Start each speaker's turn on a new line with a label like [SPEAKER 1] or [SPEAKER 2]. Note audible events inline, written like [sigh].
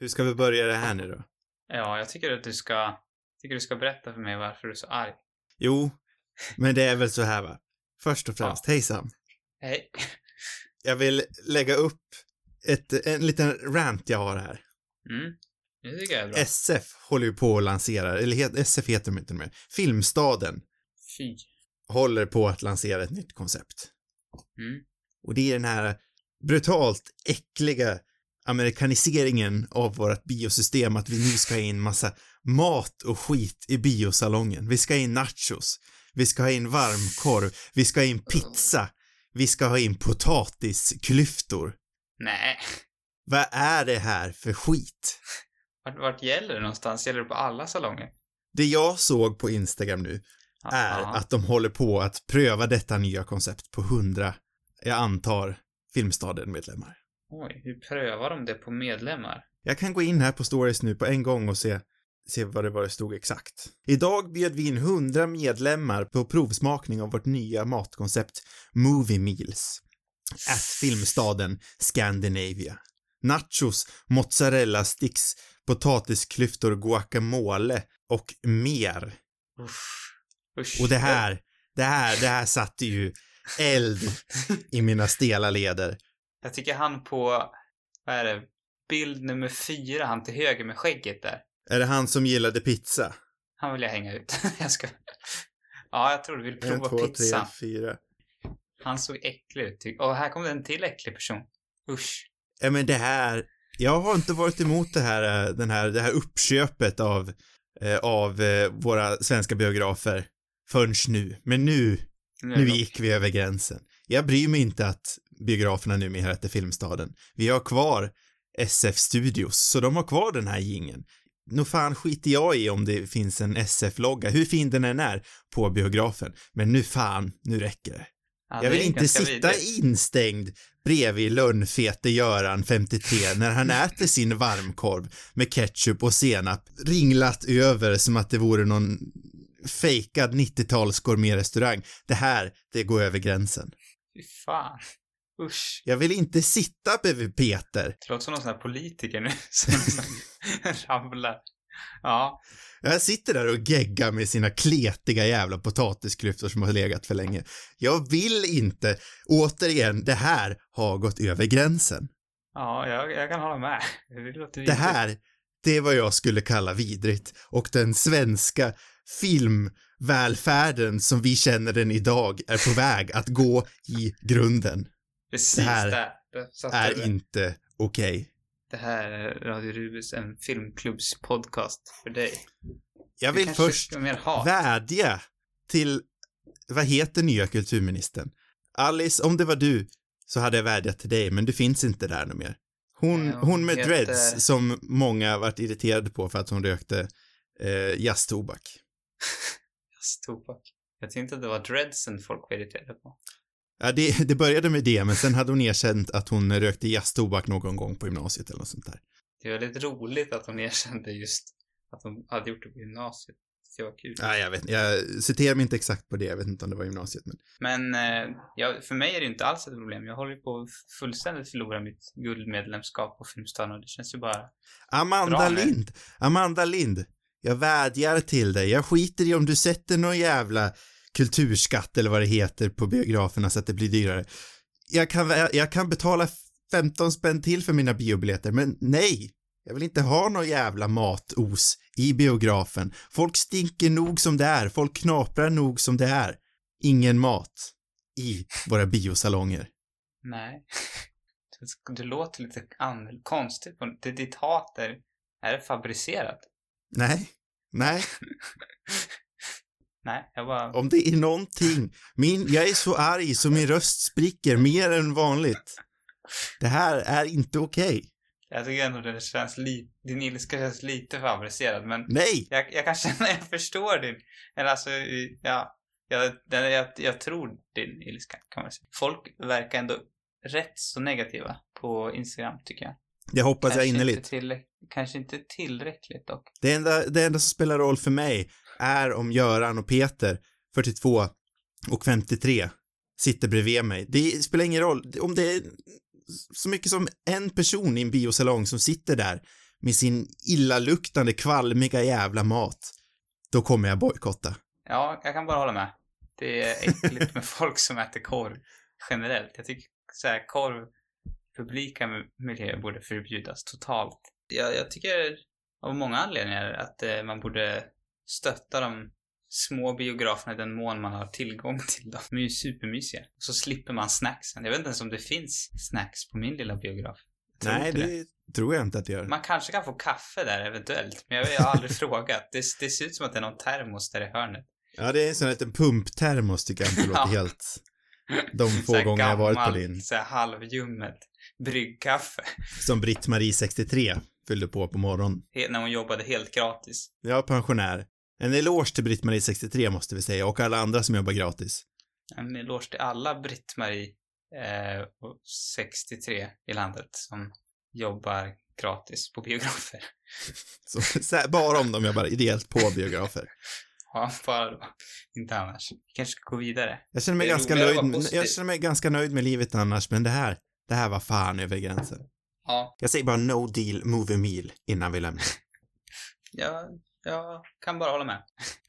[SPEAKER 1] Hur ska vi börja det här nu då?
[SPEAKER 2] Ja, jag tycker att du ska, tycker du ska berätta för mig varför du är så arg.
[SPEAKER 1] Jo, men det är väl så här va. Först och främst, hejsan.
[SPEAKER 2] Hej.
[SPEAKER 1] Jag vill lägga upp ett, en liten rant jag har här.
[SPEAKER 2] Mm. Det tycker jag är bra.
[SPEAKER 1] SF håller ju på att lansera, eller het, SF heter de inte mer. Filmstaden
[SPEAKER 2] Fy.
[SPEAKER 1] håller på att lansera ett nytt koncept.
[SPEAKER 2] Mm.
[SPEAKER 1] Och det är den här brutalt äckliga amerikaniseringen av vårt biosystem, att vi nu ska ha in massa mat och skit i biosalongen. Vi ska ha in nachos, vi ska ha in varmkorv, vi ska ha in pizza, vi ska ha in potatisklyftor.
[SPEAKER 2] Nej.
[SPEAKER 1] Vad är det här för skit?
[SPEAKER 2] Vart, vart gäller det någonstans? Gäller det på alla salonger?
[SPEAKER 1] Det jag såg på Instagram nu
[SPEAKER 2] Ja,
[SPEAKER 1] är
[SPEAKER 2] ja.
[SPEAKER 1] att de håller på att pröva detta nya koncept på hundra, jag antar, Filmstaden-medlemmar.
[SPEAKER 2] Oj, hur prövar de det på medlemmar?
[SPEAKER 1] Jag kan gå in här på stories nu på en gång och se, se vad det var det stod exakt. Idag bjöd vi in 100 medlemmar på provsmakning av vårt nya matkoncept Movie Meals. At filmstaden Scandinavia. Nachos, mozzarella sticks, potatisklyftor, guacamole och mer.
[SPEAKER 2] Uff. Usch.
[SPEAKER 1] Och det här, det här, det här satte ju eld i mina stela leder.
[SPEAKER 2] [laughs] Jag tycker han på, vad är det, bild nummer fyra, han till höger med skägget där.
[SPEAKER 1] Är det han som gillade pizza?
[SPEAKER 2] Han vill jag hänga ut. [laughs] jag ska... Ja, jag tror du vill prova
[SPEAKER 1] en, två,
[SPEAKER 2] pizza.
[SPEAKER 1] tre, fyra.
[SPEAKER 2] Han såg äcklig ut. tyck- Och här kom det en till äcklig person. Usch.
[SPEAKER 1] Ja men det här, jag har inte varit emot det här, eh, den här, det här uppköpet av, eh, av eh, våra svenska biografer förrän nu. Men nu,
[SPEAKER 2] Nu är
[SPEAKER 1] nu
[SPEAKER 2] det nog.
[SPEAKER 1] gick vi över gränsen. Jag bryr mig inte att biograferna numera heter Filmstaden. Vi har kvar SF Studios, så de har kvar den här gingen. Nå fan skiter jag i om det finns en SF-logga, hur fin den än är, på biografen. Men nu fan, nu räcker det.
[SPEAKER 2] Ja,
[SPEAKER 1] Jag
[SPEAKER 2] det
[SPEAKER 1] vill
[SPEAKER 2] är
[SPEAKER 1] inte
[SPEAKER 2] ganska
[SPEAKER 1] sitta
[SPEAKER 2] vidrigt.
[SPEAKER 1] instängd bredvid lönnfete Göran, 53, när han äter sin varmkorv med ketchup och senap ringlat över som att det vore någon fejkad 90-tals gourmetrestaurang. Det här, det går över gränsen.
[SPEAKER 2] Fy fan. Usch.
[SPEAKER 1] Jag vill inte sitta bredvid Peter.
[SPEAKER 2] Det låter som någon sån här politiker nu [laughs] som
[SPEAKER 1] [laughs]
[SPEAKER 2] ramlar. Ja.
[SPEAKER 1] Jag sitter där och geggar med sina kletiga jävla potatisklyftor som har legat för länge. Jag vill inte. Återigen, det här har gått över gränsen.
[SPEAKER 2] Ja, jag, jag kan hålla med. Det låter
[SPEAKER 1] Det
[SPEAKER 2] vidrigt.
[SPEAKER 1] här, det är vad jag skulle kalla vidrigt och den svenska filmvälfärden som vi känner den idag är på väg att gå i grunden.
[SPEAKER 2] Precis
[SPEAKER 1] det här
[SPEAKER 2] där. där satte du
[SPEAKER 1] Är
[SPEAKER 2] det.
[SPEAKER 1] inte okej.
[SPEAKER 2] Det här är Radio Rubus, en filmklubbspodcast för dig.
[SPEAKER 1] Jag
[SPEAKER 2] Du
[SPEAKER 1] vill
[SPEAKER 2] kanske
[SPEAKER 1] först
[SPEAKER 2] ska mer hat.
[SPEAKER 1] vädja till, vad heter nya kulturministern? Alice, om det var du så hade jag vädjat till dig, men du finns inte där nu mer. Hon,
[SPEAKER 2] Nej, hon
[SPEAKER 1] hon med
[SPEAKER 2] heter-
[SPEAKER 1] dreads som många varit irriterade på för att hon rökte eh, jazztobak.
[SPEAKER 2] Yes, Tobak. Jag tänkte att det var dreadsen folk var irriterade på.
[SPEAKER 1] Ja, det, det började med det, men sen hade hon erkänt att hon rökte jazztobak någon gång på gymnasiet eller något sånt där.
[SPEAKER 2] Det är väldigt roligt att hon erkände just att hon hade gjort det på gymnasiet. Det var kul.
[SPEAKER 1] Ja, jag vet jag citerar mig inte exakt på det, jag vet inte om det var gymnasiet, men
[SPEAKER 2] Men eh, jag, för mig är det inte alls ett problem. Jag håller ju på att fullständigt förlora mitt guldmedlemskap på Filmstaden och det känns ju bara...
[SPEAKER 1] Amanda
[SPEAKER 2] Bra, nej.
[SPEAKER 1] Lind, Amanda Lind, jag vädjar till dig, jag skiter i om du sätter någon jävla kulturskatt eller vad det heter på biograferna så att det blir dyrare. Jag kan, vä- jag kan betala 15 spänn till för mina biobiljetter, men nej, jag vill inte ha någon jävla matos i biografen. Folk stinker nog som det är, folk knaprar nog som det är. Ingen mat i våra biosalonger.
[SPEAKER 2] Nej. [laughs] Du, du låter lite an- konstigt. På, det, ditt hat är, är det fabricerat.
[SPEAKER 1] Nej, nej.
[SPEAKER 2] Nej, jag bara...
[SPEAKER 1] Om det är någonting. Min, jag är så arg så min röst spricker mer än vanligt. Det här är inte okej.
[SPEAKER 2] Jag tycker ändå det känns lite... Din ilska känns lite fabricerad, men
[SPEAKER 1] Nej!
[SPEAKER 2] jag, jag kan [laughs] känna... Jag förstår din... Eller alltså, i- ja. Jag, den, jag, jag tror din ilska, kan man säga. Folk verkar ändå rätt så negativa på Instagram, tycker jag.
[SPEAKER 1] Det hoppas jag innerligt.
[SPEAKER 2] Inte tillräck- kanske inte tillräckligt dock.
[SPEAKER 1] Det enda, det enda som spelar roll för mig är om Göran och Peter, 42 och 53, sitter bredvid mig. Det spelar ingen roll om det är så mycket som en person i en biosalong som sitter där med sin illaluktande, kvalmiga jävla mat, då kommer jag bojkotta.
[SPEAKER 2] Ja, jag kan bara hålla med. Det är
[SPEAKER 1] [laughs]
[SPEAKER 2] äckligt med folk som äter korv generellt. Jag tycker så här, korv i publika miljöer borde förbjudas totalt. Jag, jag tycker av många anledningar att eh, man borde stötta de små biograferna i den mån man har tillgång till dem. De är ju supermysiga. Och så slipper man snacksen. Jag vet inte ens om det finns snacks på min lilla biograf. Jag tror
[SPEAKER 1] Nej,
[SPEAKER 2] inte
[SPEAKER 1] det, tror jag inte att det gör.
[SPEAKER 2] Man kanske kan få kaffe där eventuellt, men jag, jag har aldrig [laughs] frågat. Det, det ser ut som att det är någon termos där i hörnet.
[SPEAKER 1] Ja, det är en sån liten pumptermos tycker jag
[SPEAKER 2] [laughs]
[SPEAKER 1] inte låter
[SPEAKER 2] Ja.
[SPEAKER 1] helt... De få
[SPEAKER 2] Så här
[SPEAKER 1] gånger jag varit på
[SPEAKER 2] gammalt,
[SPEAKER 1] Linn.
[SPEAKER 2] Så här halvljummet bryggkaffe. [laughs]
[SPEAKER 1] Som Britt-Marie 63 fyllde på på morgonen.
[SPEAKER 2] He- När hon jobbade helt gratis.
[SPEAKER 1] Jag är pensionär. En eloge till Britt-Marie 63 måste vi säga och alla andra som jobbar gratis.
[SPEAKER 2] En eloge till alla Britt-Marie, eh, och 63 i landet, som jobbar gratis på biografer. [laughs]
[SPEAKER 1] Så, [laughs] så här, bara om de jobbar ideellt på biografer.
[SPEAKER 2] Ja, bara då. Inte annars. Vi kanske ska gå vidare.
[SPEAKER 1] Jag känner mig,
[SPEAKER 2] Det är
[SPEAKER 1] ganska
[SPEAKER 2] roligare att
[SPEAKER 1] nöjd,
[SPEAKER 2] vara positiv.
[SPEAKER 1] jag känner mig ganska nöjd med livet annars, men det här, det här var fan över gränsen.
[SPEAKER 2] Ja,
[SPEAKER 1] Jag säger bara no deal, move a meal innan vi lämnar.
[SPEAKER 2] jag, jag kan bara hålla med. [laughs]